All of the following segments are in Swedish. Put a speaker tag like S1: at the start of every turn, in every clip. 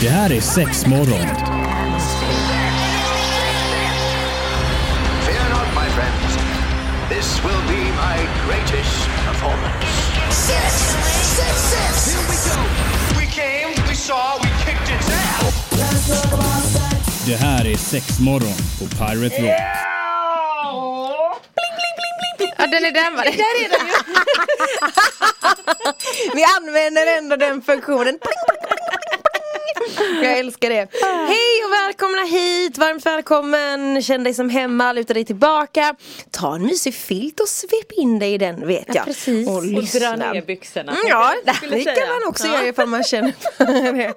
S1: Det här är sex morgon.
S2: Fear not, my friends. This will be my greatest performance.
S3: Six, six, six.
S2: We came, we saw, we kicked its ass.
S1: Det här är sex morgon på Pirate Rock.
S4: Ja, den är den var det. Där är den ju.
S5: Vi använder ändå den funktionen. Pling, pling, pling, pling, pling. Jag älskar det. Hej och välkomna hit, varmt välkommen. Känn dig som hemma, luta dig tillbaka. Ta en mysig filt och svep in dig i den vet jag.
S4: precis.
S5: Och,
S4: Och
S6: Och
S5: lyssna.
S6: dra ner byxorna.
S5: Mm, ja, det
S6: skulle
S5: här
S6: jag
S5: kan
S6: säga.
S5: man också
S6: Ja.
S5: göra ifall man känner för det.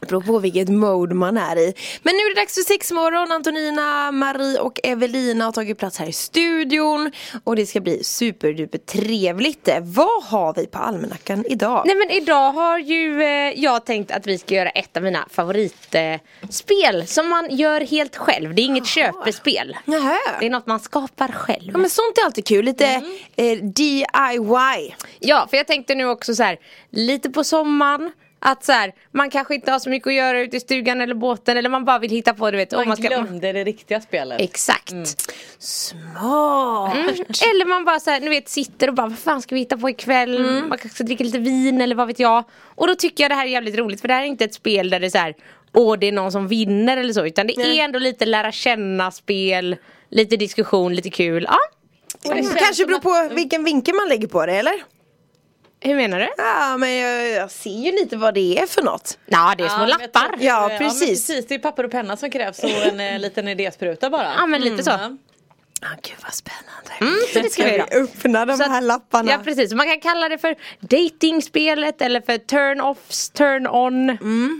S5: Det beror på vilket mode man är i. Men nu är det dags för sexmorgon. Antonina, Marie och Evelina har tagit plats här i studion. Och det ska bli superduper trevligt. Vad har vi på almanackan idag?
S4: Nej men idag har ju eh, jag tänkt att vi ska göra ett av mina favoritspel eh, spel som man gör helt själv. Det är inget köpespel.
S5: Nähä.
S4: Det är något man skapar själv.
S5: Ja men sånt är alltid kul, lite
S6: Mm.
S5: eh, DIY.
S4: Ja, för jag tänkte nu också så här, lite på sommaren. Att så här, man kanske inte har så mycket att göra ute i stugan eller båten eller man bara vill hitta på du vet. om
S6: Man
S4: man ska-
S6: glömde det riktiga spelet.
S4: Exakt.
S5: Smart!
S4: Mm. Eller man bara så här, ni vet sitter och bara vad fan ska vi hitta på ikväll? Man kanske dricker lite vin eller vad vet jag. Och då tycker jag det här är jävligt roligt för det här är inte ett spel där det är så här Åh det är någon som vinner eller så utan det är ändå lite lära känna spel Lite diskussion, lite kul. Ja,
S5: Det Mm, kanske beror på vilken vinkel man lägger på det eller?
S4: hur menar du?
S5: Ja men jag, jag ser ju lite vad det är för något.
S4: Ja det är små
S6: men jag tror
S4: lappar.
S6: att, eh,
S4: Ja.
S5: Ja,
S6: men
S5: precis.
S6: precis. Det är papper och penna som krävs och en eh, liten idéspruta bara.
S4: men lite så.
S6: Ja.
S5: Ah, gud vad spännande.
S4: så det ska vi göra.
S5: öppna de
S4: Så att-
S5: här lapparna.
S4: Ja precis, man kan kalla det för datingspelet eller för turn-offs, turn-on.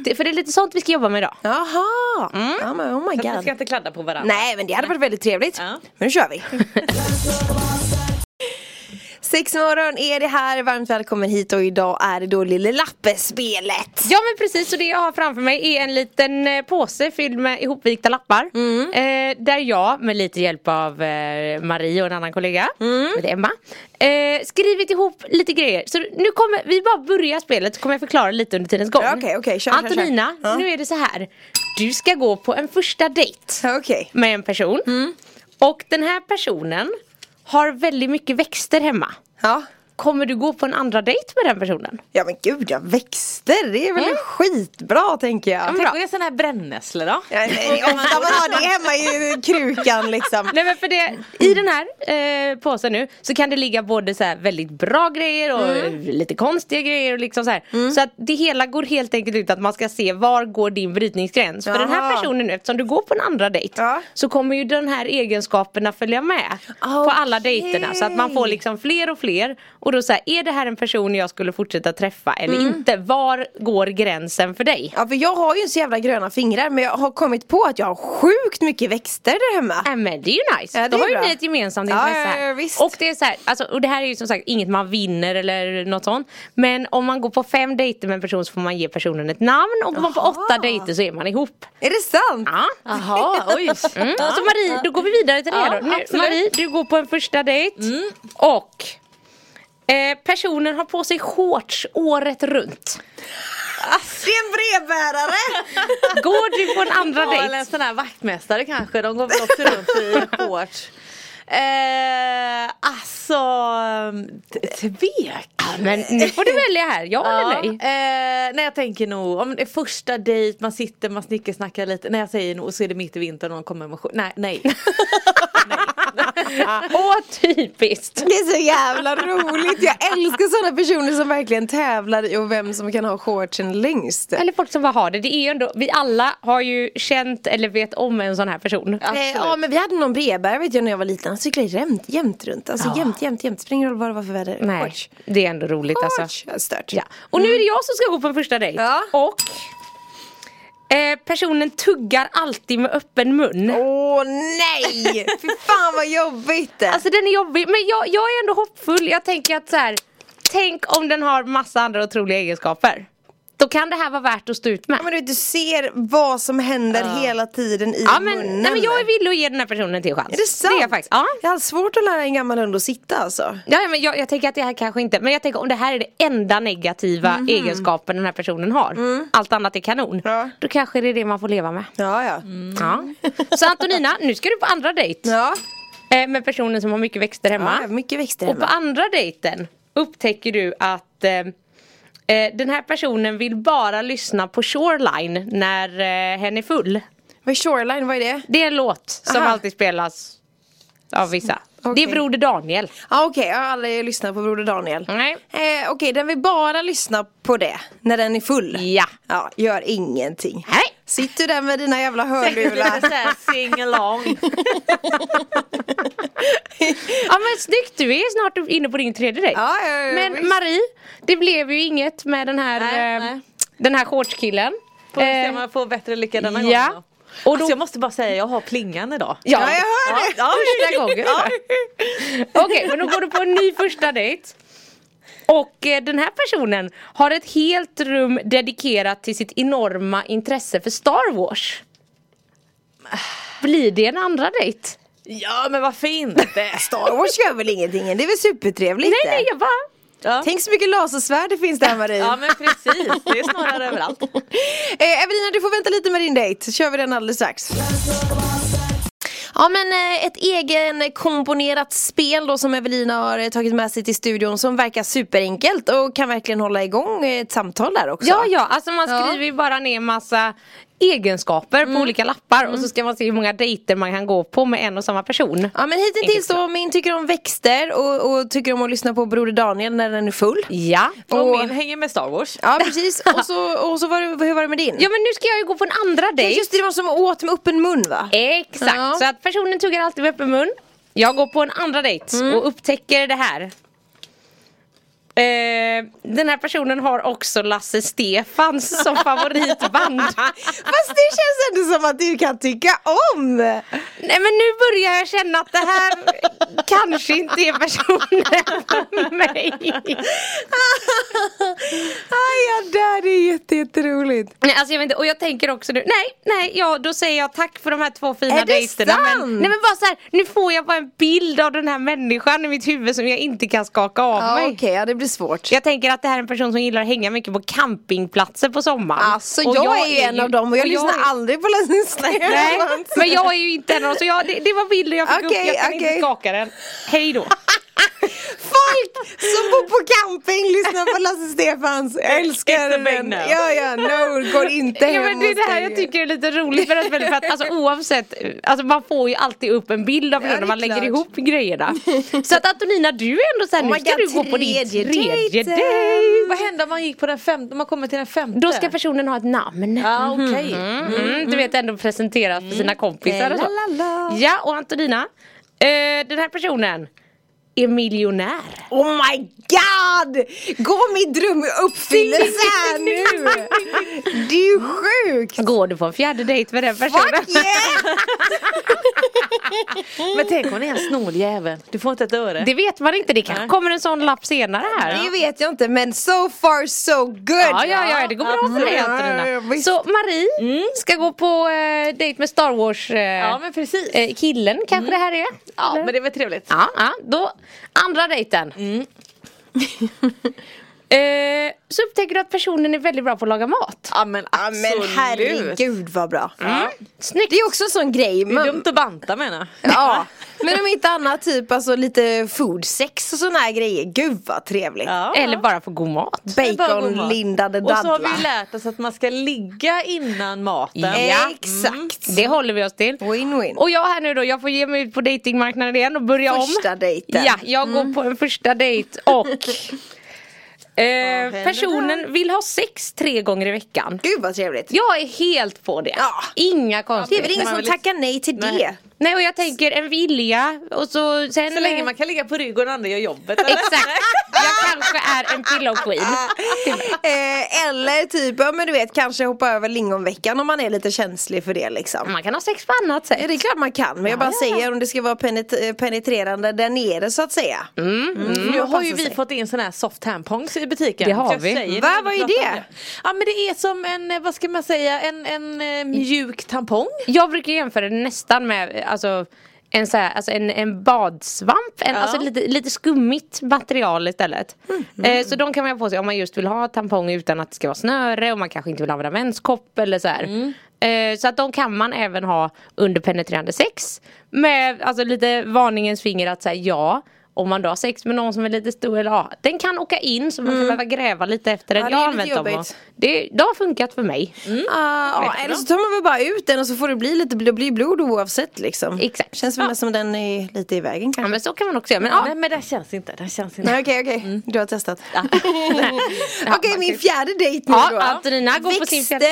S4: Det, för det är lite sånt vi ska jobba med idag.
S5: Jaha! Ja, men oh my
S6: Så att vi
S5: god.
S6: ska inte kladda på varandra.
S5: Nej men det hade varit väldigt trevligt.
S6: Ja.
S5: Men nu kör vi. Sexmorgon är det här, varmt välkommen hit och idag är det då Lille Lappe-spelet.
S4: Ja men precis, och det jag har framför mig är en liten eh, påse fylld med ihopvikta lappar.
S5: Mm.
S4: Eh, där jag med lite hjälp av eh, Marie och en annan kollega,
S5: Mm.
S4: med Emma, eh, skrivit ihop lite grejer. Så nu kommer, vi bara börjar spelet så kommer jag förklara lite under tidens gång.
S5: Ja, okej, okej, kör, kör, kör.
S4: Antonina,
S5: Ja.
S4: nu är det så här. Du ska gå på en första dejt
S5: Okej.
S4: med en person.
S5: Mm.
S4: Och den här personen har väldigt mycket växter hemma.
S5: Ja.
S4: Kommer du gå på en andra dejt med den personen?
S5: Ja men gud jag växter, det är väl
S4: Mm.
S5: skitbra tänker jag.
S6: Tänk om jag är sån här brännässle då.
S5: Ja, men, ofta man har det hemma i krukan liksom.
S4: Nej men för det, i den här eh, påsen nu så kan det ligga både så här väldigt bra grejer och
S5: Mm.
S4: eh, lite konstiga grejer och liksom så här. Så att det hela går helt enkelt ut att man ska se var går din brytningsgräns. För den här
S5: Jaha.
S4: personen nu, eftersom du går på en andra dejt
S5: Ja.
S4: så kommer ju den här egenskaperna följa med på alla
S5: Okej.
S4: dejterna. Så att man får liksom fler och fler och då så här, är det här en person jag skulle fortsätta träffa eller
S5: Mm.
S4: inte? Var går gränsen för dig?
S5: Ja för jag har ju inte så jävla gröna fingrar men jag har kommit på att jag har sjukt mycket växter där hemma.
S4: Ja men det är ju nice,
S5: Ja, det
S4: då
S5: är
S4: har ju
S5: bra.
S4: ni ett gemensamt
S5: Ja,
S4: intresse
S5: ja, ja,
S4: här.
S5: visst.
S4: Och det är så här, alltså, och det här är ju som sagt inget man vinner eller något sånt Men om man går på fem dejter med en person så får man ge personen ett namn och går man på åtta dejter så är man ihop
S5: Är det sant?
S4: Ja
S6: Jaha, oj.
S4: mm. Så Marie, då går vi vidare till det här
S6: Ja,
S4: då nu,
S6: absolut. Mm.
S4: Marie, du går på en första dejt och eh, personen har på sig shorts året runt
S6: Ah,
S5: Det är en brevbärare!
S4: Går du på en andra
S6: Ja, eller
S4: dejt?
S6: en sån här vaktmästare kanske. De går väl också runt i shorts. Eh, alltså, t- tvek.
S4: Men nu får du välja här, ja,
S6: Ja,
S4: eller nej?
S6: eh, nej jag tänker nog om det är första dejt, man sitter, man snickersnackar lite. När jag säger nog så är det mitt i vintern och någon kommer med skjort. Nej, nej.
S4: Åh typiskt!
S5: Det är så jävla roligt, jag älskar sådana personer som verkligen tävlar i och vem som kan ha shortsen längst.
S4: Eller folk som bara har det. Det är ju ändå, vi alla har ju känt eller vet om en sån här person.
S5: Eh, ja men vi hade någon brevbärare vet jag när jag var liten, han cyklade jämt, jämt runt. Alltså jämt, jämt, jämt. Spelar ingen roll vad det var för väder.
S4: Nej,
S5: Shorts.
S4: det är ändå roligt alltså.
S5: Shorts. Stört.
S4: Ja. Och nu är det jag som ska gå på en första dejt.
S5: Mm. Ja.
S4: Och eh, personen tuggar alltid med öppen mun.
S5: Åh nej! Fy fan vad jobbigt!
S4: Alltså den är jobbig, men jag, jag är ändå hoppfull. Jag tänker att så här, tänk om den har massa andra otroliga egenskaper. då kan det här vara värt att stå ut med.
S5: Ja, men du, vet, du ser vad som händer hela tiden i
S4: Ja, men,
S5: munnen.
S4: nej, men jag är villig att ge den här personen till chans.
S5: Är det sant?
S4: Det är jag faktiskt. Ja.
S5: Jag har svårt att lära en gammal hund att sitta alltså.
S4: Ja, ja, men jag, jag tänker att det här kanske inte, men jag tänker om det här är det enda negativa
S5: Mhm.
S4: egenskapen den här personen har, allt annat är kanon,
S5: Mm. Ja.
S4: då kanske det är det man får leva med.
S5: Ja, ja.
S4: Ja. Så Antonina, nu ska du på andra dejt
S5: Ja,
S4: eh, med personen som har mycket växter hemma.
S5: ja mycket växter
S4: Och på
S5: hemma.
S4: andra dejten upptäcker du att eh, eh, den här personen vill bara lyssna på Shoreline när eh, hen är full.
S5: Vad är shoreline, vad är det?
S4: Det är en låt som
S5: Aha.
S4: alltid spelas av vissa. Det
S5: Okej.
S4: är Broder Daniel.
S5: Ja okej, jag har aldrig lyssnat på Broder Daniel.
S4: Nej.
S5: Eh, okej, den vill bara lyssna på det när den är full.
S4: Ja.
S5: Ja, gör ingenting.
S4: Nej.
S5: Sitter du där med dina jävla hörlurar?
S6: Lite såhär sing along.
S4: Ja men snyggt, du är snart inne på din tredje dejt.
S5: Ja, ja, ja,
S4: men
S5: visst.
S4: Marie, det blev ju inget med den här,
S6: Nej,
S4: eh,
S6: nej.
S4: Den här shortskillen.
S6: Får vi se
S4: Eh,
S6: om jag får bättre lycka denna
S4: ja.
S6: gången då.
S4: Och
S6: Alltså
S4: då-
S6: jag måste bara säga, jag har plingan idag.
S4: ja,
S5: Ja, jag hör det.
S6: Ja,
S4: första gången. Ja. Okej, men då går du på en ny första dejt. Och eh, den här personen har ett helt rum dedikerat till sitt enorma intresse för Star Wars. Blir det en andra dejt?
S6: ja men varför inte?
S5: Star Wars gör väl ingenting? Det är väl supertrevligt?
S4: Nej,
S5: det?
S4: nej, jag bara...
S6: Ja.
S5: Tänk så mycket lasersvärd det finns där Marie.
S6: ja men precis, det är snarare överallt.
S5: Eh, Evelina du får vänta lite med din dejt, så kör vi den alldeles strax. Ja men eh, ett egenkomponerat spel då som Evelina har eh, tagit med sig till studion som verkar superenkelt och kan verkligen hålla igång eh, ett samtal där också.
S4: Ja, ja, alltså man
S5: Ja. Mm.
S4: skriver ju bara ner massa egenskaper på olika lappar och så ska man se hur många dejter man kan gå på med en och samma person.
S5: Ja men hittills då, min tycker om växter och, och tycker om att lyssna på Broder Daniel när den är full.
S4: Ja.
S6: Och
S5: Och-
S6: min hänger med Star Wars.
S5: Ja precis, och så, och så var det, hur var det med din?
S4: Ja men nu ska jag ju gå på en andra
S5: det är
S4: dejt.
S5: just det, det var som åt med öppen mun va?
S4: Exakt,
S5: Ja.
S4: så att personen tuggar alltid med öppen mun. Jag går på en andra dejt
S5: Mm.
S4: och upptäcker det här. Eh, den här personen har också Lasse Stefans som favoritband.
S5: Fast det känns ändå som att du kan tycka om!
S4: Nej men nu börjar jag känna att det här kanske inte är personen för mig.
S5: Aj, ja, där det är jätte, jätteroligt.
S4: Nej, alltså jag vet inte, och jag tänker också nu, nej, nej, ja, då säger jag tack för de här två fina
S5: Är det
S4: dejterna.
S5: sant?
S4: Men, nej men bara så här, nu får jag bara en bild av den här människan i mitt huvud som jag inte kan skaka av
S5: Ja,
S4: mig.
S5: okej, ja, det blir svårt.
S4: Jag tänker att det här är en person som gillar att hänga mycket på campingplatser på sommaren.
S5: Alltså jag, är ju en av dem och jag lyssnar aldrig på Lasse
S4: Nej,
S5: Stefans.
S4: men jag är ju inte en av dem, så jag, det, det var bilden jag fick upp,
S5: Okej,
S4: jag kan
S5: okej.
S4: inte skaka den. Hej då.
S5: Folk som bor på camping lyssnar på Lasse Stefans. Jag älskar
S6: It's a big
S5: den.
S6: no.
S5: Ja, ja, no, går inte
S4: Ja,
S5: hem
S4: men det är
S5: hos
S4: det här
S5: dig.
S4: jag tycker är lite roligt för att, för att alltså, oavsett, alltså, man får ju alltid upp en bild av
S5: Ja,
S4: hur
S5: det är
S4: man lägger
S5: klart.
S4: ihop grejerna. Så att Antonina du är ändå såhär,
S5: Oh
S4: nu
S5: my
S4: ska
S5: God,
S4: du gå på din
S5: tredje
S4: tredje
S5: dejten.
S4: dejt.
S6: Vad händer om man gick på den femte, om man kommer till den femte?
S4: Då ska personen ha ett namn.
S6: Ja okej.
S4: Mm, du vet ändå presenteras för sina kompisar och så.
S5: Mm. Eh, La, la, la.
S4: Ja och Antonina, eh, den här personen är miljonär.
S5: Oh my god! Går min dröm i uppfyllelse här nu? Det är ju sjukt!
S4: Går du på en fjärde dejt med den personen?
S5: Fuck yeah!
S6: Men tänk hon är en snoljävel. Du får inte ett öre.
S4: Det vet man inte, det kanske
S6: Nej.
S4: kommer en sån lapp senare här.
S5: Det vet jag inte men so far so good!
S4: Ja, ja, ja, det går bra för dig
S5: Ja, ja,
S4: Antonina.
S5: visst.
S4: Så Marie ska gå på eh, dejt med Star Wars eh,
S6: Mm. Ja men precis.
S4: eh, killen kanske det här är.
S6: Ja
S4: Eller?
S6: men det Mm. är väl trevligt.
S4: ja, ja, då andra dejten. eh, så upptäcker du att personen är väldigt bra på att laga mat.
S6: Ja men
S5: Ja,
S6: absolut.
S5: men herregud vad bra! Mm.
S4: Snyggt.
S5: Det är också en sån grej.
S6: Det är
S5: man-
S6: dumt att banta menar jag.
S5: Ja, men om inte annat typ alltså lite foodsex och såna här grejer. Gud vad trevligt. Eh,
S6: Ja.
S4: Eller bara för god mat.
S5: Baconlindade
S6: Och så har
S5: dadlar. Eh,
S6: vi ju lärt oss att man ska ligga innan maten.
S4: Ja.
S5: Exakt.
S6: Mm.
S4: Det håller vi oss till.
S5: Win-win.
S4: Och jag här nu då, jag får ge mig ut på datingmarknaden igen och börja om.
S5: Första dejten. Mm.
S4: Ja, jag går på en första dejt och eh, personen vill ha sex tre gånger i veckan.
S5: Gud vad trevligt.
S4: Jag är helt på det.
S5: Ja.
S4: Inga
S5: Det är väl
S4: konstigheter.
S5: ingen som tackar nej till det.
S4: Nej och jag tänker en vilja och så sen...
S6: Så länge man kan ligga på rygg och den andra gör jobbet. eller?
S4: Exakt. Jag kanske är en pillow queen.
S5: Eh, eller typ, ja men du vet kanske hoppa över lingonveckan om man är lite känslig för det
S6: Mm.
S5: liksom.
S4: Man kan ha sex på annat
S5: Ja,
S4: sätt.
S5: det är klart man kan men jag bara säger om det ska vara penet- eh, penetrerande där nere så att säga.
S6: Mm.
S5: Mm,
S6: Nu har ju
S5: passa
S6: vi
S5: sig.
S6: fått in såna här soft tampons i butiken.
S4: Det har
S6: Jag
S4: vi.
S6: säger
S5: Va,
S6: när vi
S5: vad är
S6: pratar om
S5: det?
S6: Ja men det är som en, eh, vad ska man säga, en, en eh, mjuk tampong.
S4: Jag brukar jämföra det nästan med alltså, en, så här, alltså en, en badsvamp, en, alltså lite, lite skummigt material istället.
S5: Mm-hmm.
S4: Eh, så de kan man ha på sig om man just vill ha tampong utan att det ska vara snöre och man kanske inte vill använda menskopp eller så här.
S5: Mm.
S4: Eh, så att de kan man även ha under penetrerande sex. Med alltså, lite varningens finger att säga ja. Om man då har sex med någon som är lite stor eller ja, den kan åka in så man kan behöva gräva lite efter den.
S5: Mm. Ja, det är
S4: jag har
S5: lite
S4: använt dem
S5: jobbigt.
S4: och det, det har funkat för mig.
S5: Ah, ja, eller så tar man väl bara ut den och så får det bli lite bl- bli blod oavsett liksom.
S4: Exakt.
S5: Känns väl
S4: Ja.
S5: mest som den är lite i vägen
S4: Ja
S5: kanske.
S4: men så kan man också göra. Men, ja,
S6: Nej men det känns inte, det känns inte.
S5: Nej okej okej,
S4: Mm.
S5: du har testat.
S4: Ja,
S5: okej
S4: man
S5: min
S4: kan-
S5: fjärde dejt nu
S4: Ja,
S5: då.
S4: Antonina går på sin fjärde-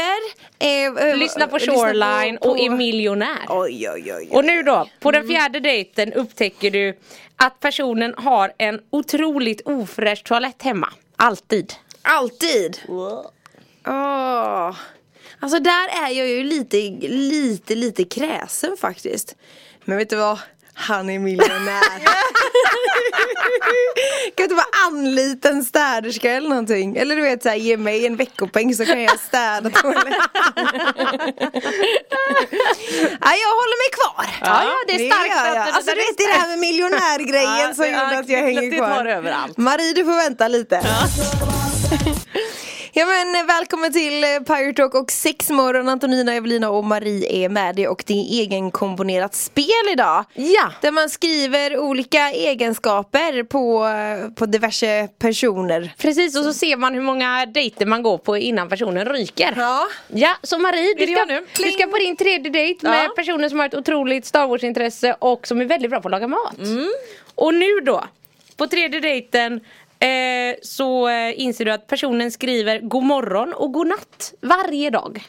S5: Växter, eh, eh,
S4: Lyssna på Mm.
S5: på-
S4: Shoreline och
S5: på-
S4: är miljonär.
S5: Oj oj oj.
S4: Och nu då, på den fjärde dejten upptäcker du att personen har en otroligt ofräsch toalett hemma. Alltid.
S5: Alltid. Åh. Alltså där är jag ju lite, lite, lite kräsen faktiskt. Men vet du vad? Han är miljonär. kan inte bara anlita en städerska eller någonting? Eller du vet såhär, ge mig en veckopeng så kan jag städa toaletten. Nej jag håller mig kvar.
S4: Ja, ja, det är starkt
S5: gör jag.
S4: att du-
S5: Alltså
S4: det
S5: du
S4: är
S5: vet det där med
S6: Ja,
S5: miljonärgrejen som
S6: det-
S5: gjorde
S6: ja,
S5: att jag hänger
S6: plötsligt var det
S5: kvar.
S6: överallt.
S5: Marie du får vänta lite. Ja men eh, välkommen till eh, Pirate Talk och sexmorgon Antonina, Evelina och Marie är med dig och det är egenkomponerat spel idag
S6: Ja.
S5: Där man skriver olika egenskaper på, eh, på diverse personer
S4: Precis, och så ser man hur många dejter man går på innan personen ryker.
S5: Ja.
S4: Ja, så Marie, du
S6: Är det
S4: ska,
S6: jag nu?
S4: du ska på din tredje dejt med personer som har ett otroligt Star Wars-intresse och som är väldigt bra på att laga mat. Och nu då, på tredje dejten eh, så eh, inser du att personen skriver god morgon och god natt varje dag.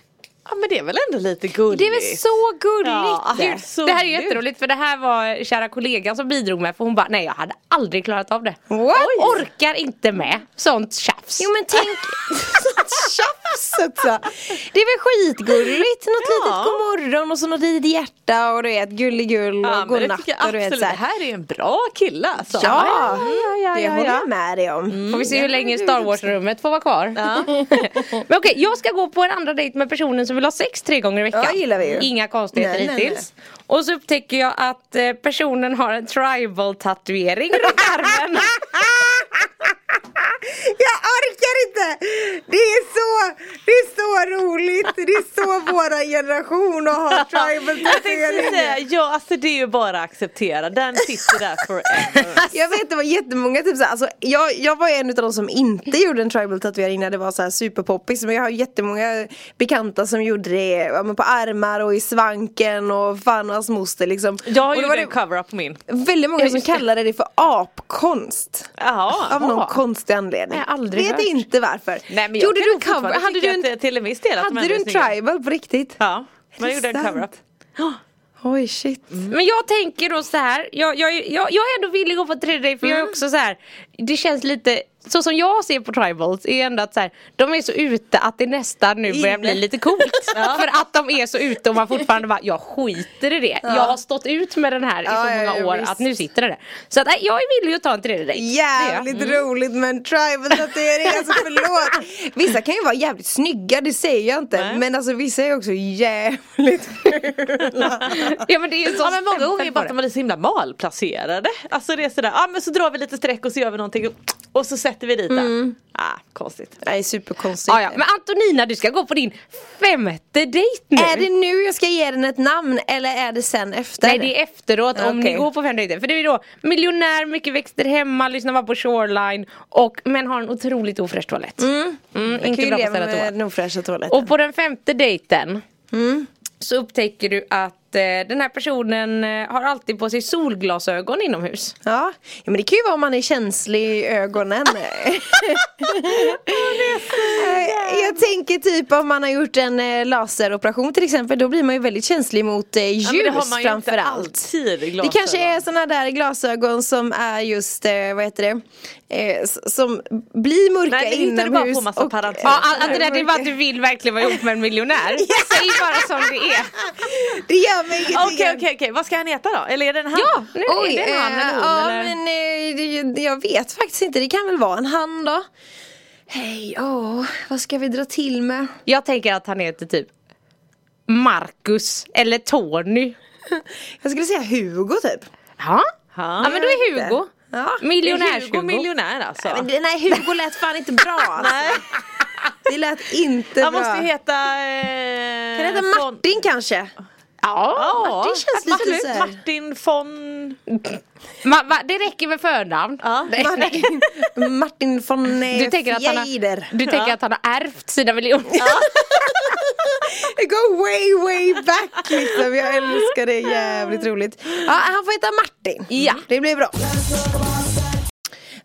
S6: Ja men det är väl ändå lite gulligt.
S4: Det är väl så
S6: Ja,
S4: gulligt!
S6: gud, så
S4: det här är
S6: gulligt.
S4: jätteroligt för det här var kära kollegan som bidrog med för hon bara nej jag hade aldrig klarat av det.
S5: What?
S4: Orkar inte med sånt tjafs.
S5: Jo men tänk, sånt tjafs också. Det är väl skitgulligt, något
S6: Ja.
S5: litet godmorgon och så något litet hjärta och du vet gulligull och
S6: Ja, men det
S5: godnatt
S6: tycker jag
S5: och du vet
S6: absolut, det
S5: såhär
S6: här är en bra kille alltså.
S5: Ja, Mm.
S4: ja,
S5: det
S4: ja,
S5: håller
S4: ja.
S5: jag med dig om
S4: Får vi se hur länge Star Wars-rummet får vara kvar. Men okej, jag ska gå på en andra dejt med personen som vill ha sex tre gånger i veckan.
S5: Ja, gillar vi ju.
S4: Inga konstigheter
S5: Nej, nej,
S4: hittills. Och så upptäcker jag att eh, personen har en tribal-tatuering runt armen.
S5: Jag orkar inte! Det är så, det är så roligt! Det är så våran generation att ha tribal
S6: Jag tänkte säga,
S5: tatueringar.
S6: ja alltså det är ju bara att acceptera, den sitter där forever.
S5: Jag vet det var jättemånga typ såhär, alltså, jag, jag var ju en av de som inte gjorde en tribal tatuering när det var såhär superpoppis men jag har jättemånga bekanta som gjorde det ja, men på armar och i svanken och fan och hans moster liksom.
S6: Jag
S5: och då
S6: gjorde
S5: var
S6: en cover-up på min.
S5: väldigt många som
S4: just det.
S5: kallade det för apkonst.
S6: Jaha.
S5: Av
S4: Ah.
S5: någon konstig anledning.
S4: Jag har aldrig
S5: vet
S4: hört.
S5: inte varför.
S6: Nej, men jag
S5: gjorde
S6: kan
S5: du
S6: nog fortfarande
S5: cover? Hade du
S6: tycka
S5: en
S6: att, eh, till en viss del att de
S5: Hade
S6: ändå
S5: du
S6: är
S5: en
S6: snygga.
S5: tribal på riktigt?
S6: Ja,
S5: Är
S6: man
S5: det
S6: gjorde en
S5: sant?
S6: cover-up.
S5: Oj shit.
S4: Men jag tänker då så här, jag, jag, jag, jag är ändå villig att få tredje dejt för
S5: Mm.
S4: jag är också så här, det känns lite, så som jag ser på tribals är ändå att så här, de är så ute att det nästan nu börjar bli lite coolt. För att de är så ute och man fortfarande bara, jag skiter i det. Jag har stått ut med den här i så
S5: Ja, ja,
S4: många
S5: ja,
S4: år
S5: visst.
S4: att nu sitter det där. Så att, nej, jag är villig att ta en tredje dejt. Det är jag. Mm.
S5: Jävligt roligt med en tribal tatuering, alltså förlåt. Vissa kan ju vara jävligt snygga, det säger jag inte.
S6: Nej.
S5: Men alltså vissa är också jävligt fula.
S4: Ja men det är ju så
S6: Ja men många
S4: stämpel
S6: gånger är
S4: på
S6: bara
S4: det.
S6: att de är så himla malplacerade. Alltså det är sådär, ja men så drar vi lite streck och så gör vi någonting och, och så sätter vi dit den. Ah, konstigt.
S5: Nej superkonstigt.
S4: Ja, ja. Men Antonina du ska gå på din femte dejt nu.
S5: Är det nu jag ska ge den ett namn eller är det sen efter?
S4: Nej det är efteråt om
S5: Okej.
S4: ni går på fem dejter. För det är då miljonär, mycket växter hemma, lyssnar bara på Shoreline och men har en otroligt ofräsch toalett. Mm, inte
S5: Kul
S4: bra på
S5: igen
S4: att ställa
S5: med
S4: toalett.
S5: den ofräscha toaletten. Mm.
S4: Och på den femte dejten så upptäcker du att eh, den här personen eh, har alltid på sig solglasögon inomhus.
S5: Ja. ja men det kan ju vara om man är känslig i ögonen. Eh, jag jag tänker typ om man har gjort en eh, laseroperation till exempel då blir man ju väldigt känslig mot eh, ljus
S6: men det har man ju inte
S5: framförallt.
S6: alltid i
S5: Det
S6: glasögon.
S5: kanske är sådana där glasögon som är just, eh, vad heter det, eh, s- som blir mörka
S6: Nej, det hittar du bara på
S5: inomhus. eh,
S6: massa parenteser.
S4: Ja, allt all det där det är bara att du vill verkligen vara ihop med en miljonär. Säg bara som det är.
S5: Det gör mig
S6: Okej okej okej, vad ska han heta då? Eller är det en han?
S4: Ja, nu är
S5: Oj,
S4: det en han
S5: eh,
S4: eller hon
S5: ja,
S4: eller?
S5: men eh, det- det- jag vet faktiskt inte, det kan väl vara en han då. Hej, åh, vad ska vi dra till med?
S4: Jag tänker att han heter typ Marcus eller Tony.
S5: Jag skulle säga Hugo typ.
S4: Ja,
S6: Ja.
S4: ja men då är Hugo.
S5: Ja.
S6: Miljonärs-Hugo.
S4: Miljonärs-Hugo.
S6: Miljonär alltså.
S5: Men det, nej, Hugo lät fan inte bra. alltså.
S6: Nej,
S5: Det lät inte
S6: han
S5: bra.
S6: måste ju heta...
S5: kan det
S6: Eh,
S5: heta
S6: von-
S5: Martin kanske?
S4: Ja.
S6: Ja,
S5: Martin känns lite
S6: absolut.
S5: så här-
S6: Martin von...
S4: Ma, va, det räcker med förnamn.
S6: Ja.
S5: Martin, Martin von eh,
S4: Du tänker, att han
S5: Fjäder.
S4: har, du tänker att han har ärvt sina miljoner.
S5: Det går way way back liksom. Jag älskar det, jävligt roligt. Ja, han får heta Martin.
S4: Ja.
S5: Det blir bra.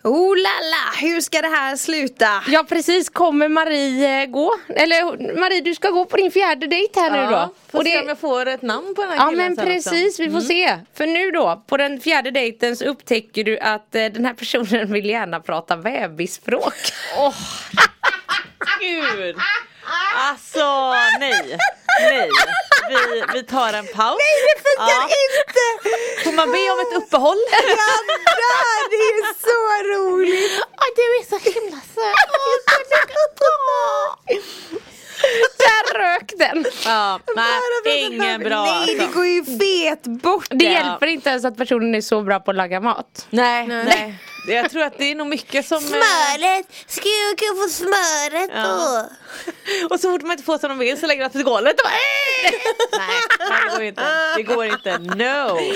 S5: Oh la la, hur ska det här sluta?
S4: Ja precis, kommer Marie eh, gå? Eller Marie du ska gå på din fjärde dejt här nu då.
S6: Får
S4: Och
S6: se
S4: det-
S6: om jag får ett namn på den här
S4: Ja
S6: killen
S4: men
S6: sen också. Mm.
S4: precis, vi får se. För nu då, på den fjärde dejten så upptäcker du att eh, den här personen vill gärna prata bebisspråk.
S6: Gud! Alltså nej, nej. Vi, vi tar en paus.
S5: Nej det funkar inte!
S6: Får man be om ett uppehåll?
S5: Jag dör, det är så roligt! du är så himla söt!
S4: Där rök den!
S6: Ja, nej, ingen bra alltså.
S5: Nej det går ju fet bort!
S4: Det
S6: Ja.
S4: hjälper inte ens att personen är så bra på att laga mat.
S6: Nej, nej. Jag tror att det är nog mycket som... eh,
S5: Ska jag kunna få smöret
S6: Ja. Och så fort man inte får som de vill så lägger de sig i golvet och bara, "Eh!" Nej, det går inte. Det går inte. No!
S4: Nej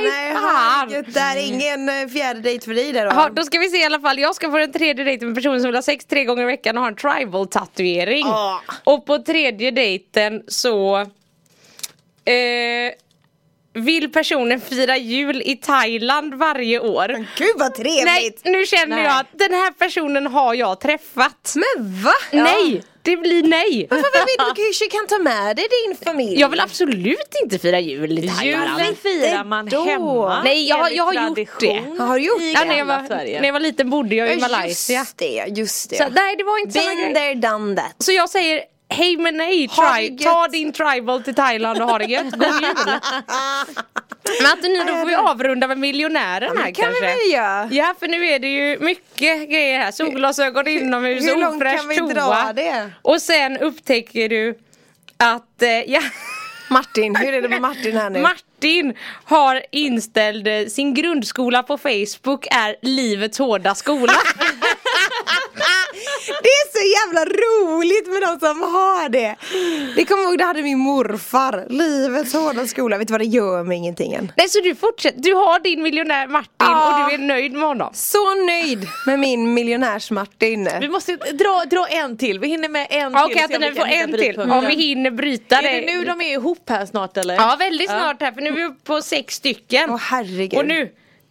S5: Nej
S4: fan!
S5: herregud, det här är ingen eh, fjärde dejt för dig där då?
S4: Ja, då ska vi se i alla fall, jag ska få den tredje dejten med personen som vill ha sex tre gånger i veckan och har en tribal tatuering.
S5: Ja.
S4: Och på tredje dejten så eh, vill personen fira jul i Thailand varje år.
S5: Gud vad
S4: Nej,
S5: trevligt!
S4: nu känner
S6: Nej.
S4: jag att den här personen har jag träffat.
S5: Men va?
S4: Nej, det blir nej.
S5: Varför vill du kanske kan ta med dig din familj?
S4: Jag vill absolut inte fira jul i Thailand.
S6: Julen firar man
S5: då.
S6: hemma.
S4: Nej, jag har- jag har
S6: enligt
S4: gjort
S6: tradition.
S5: Ja, Har du gjort
S6: I
S4: Ja, när,
S6: gamla
S4: jag var,
S6: Sverige.
S4: när jag var liten bodde jag i
S5: Ja,
S4: Malaysia.
S5: Just det, just det.
S4: Så, nej, det var inte samma
S5: Been
S4: grej.
S5: there done that.
S4: Så jag säger hej men nej,
S5: Ha det
S4: tri-
S5: gött.
S4: ta din tribal till Thailand och ha det gött, god jul! Men Antonina, då får vi avrunda med miljonären här
S5: det kan vi
S4: kanske.
S5: väl göra.
S4: Ja, för nu är det ju mycket grejer här, solglasögon inomhus,
S5: hur långt
S4: ofräsch
S5: kan vi
S4: toa.
S5: dra det?
S4: Och sen upptäcker du att eh, ja,
S5: Martin, hur är det med Martin här nu?
S4: Martin har inställd eh, sin grundskola på Facebook är livets hårda skola.
S5: Det är så jävla roligt med de som har det. Det kommer jag ihåg, det hade min morfar. Livets hårda skola. Vet du vad, det gör mig ingenting än.
S4: Nej så du fortsätter, du har din miljonär Martin
S5: Ja.
S4: och du är nöjd med honom.
S5: Så nöjd med min miljonärs-Martin.
S6: Vi måste dra, dra en till, vi hinner med en
S4: Ja,
S6: till.
S4: Okej
S6: se om
S4: Antonina
S6: vi
S4: vi
S6: kan
S4: får
S6: hitta
S4: en till
S6: brytpunkten.
S4: om vi hinner bryta det.
S6: Är det nu de är ihop här snart eller?
S4: Ja väldigt snart här för nu är vi uppe på sex stycken.
S5: Åh herregud.
S4: och nu, eh,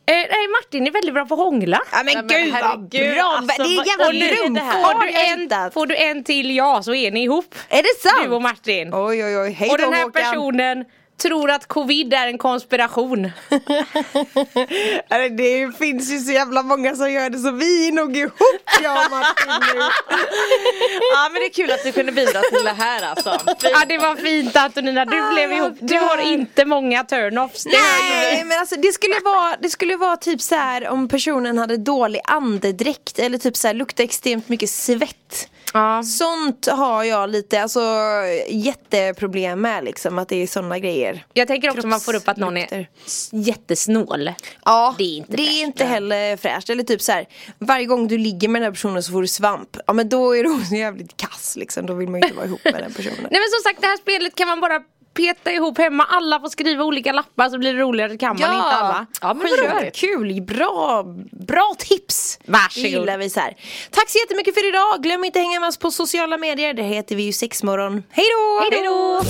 S4: nej Martin är väldigt bra på att hångla.
S5: Ja men
S6: Ja, men
S5: gud vad
S6: herregud,
S5: bra! det
S6: alltså,
S5: är
S6: vad
S5: jävla
S6: är det
S5: drömfart
S6: här?
S5: jag
S4: Får du, en,
S5: hittat.
S4: får du en till ja så är ni ihop.
S5: Är det sant?
S4: Du och Martin.
S5: Oj oj oj, hej
S4: och
S5: då
S4: den här
S5: Håkan.
S4: personen tror att covid är en konspiration.
S5: Eller, det finns ju så jävla många som gör det så vi är nog ihop jag och Martin nu.
S6: Ja, men det är kul att du kunde bidra till det här alltså.
S4: Ja det var fint Antonina, du
S5: Ah,
S4: blev
S5: jag
S4: ihop. Du har
S5: dör.
S4: inte många turn-offs. Det hör ju vi.
S5: Nej men alltså det skulle vara, det skulle vara typ så här om personen hade dålig andedräkt eller typ så här lukta extremt mycket svett.
S4: Ja.
S5: Sånt har jag lite, alltså jätteproblem med liksom att det är sådana grejer.
S4: Jag tänker också att man får upp att någon är
S5: Kroppslukter.
S4: s- jättesnål.
S5: Ja,
S4: Det
S5: det
S4: är inte fräscht,
S5: är inte
S4: nej.
S5: heller fräscht. Eller typ så här, varje gång du ligger med den här personen så får du svamp. Ja men då är det så jävligt kass liksom, då vill man ju inte vara ihop med den personen.
S4: Nej men som sagt det här spelet kan man bara peta ihop hemma. Alla får skriva olika lappar så blir det roligare. Kan man inte alla.
S5: Ja, men Skitkul, kul, bra, bra tips!
S4: Varsågod.
S5: Det gillar vi så här. Tack så jättemycket för idag! Glöm inte att hänga med oss på sociala medier, där heter vi ju Sexmorgon. Hej då!
S4: Hej då!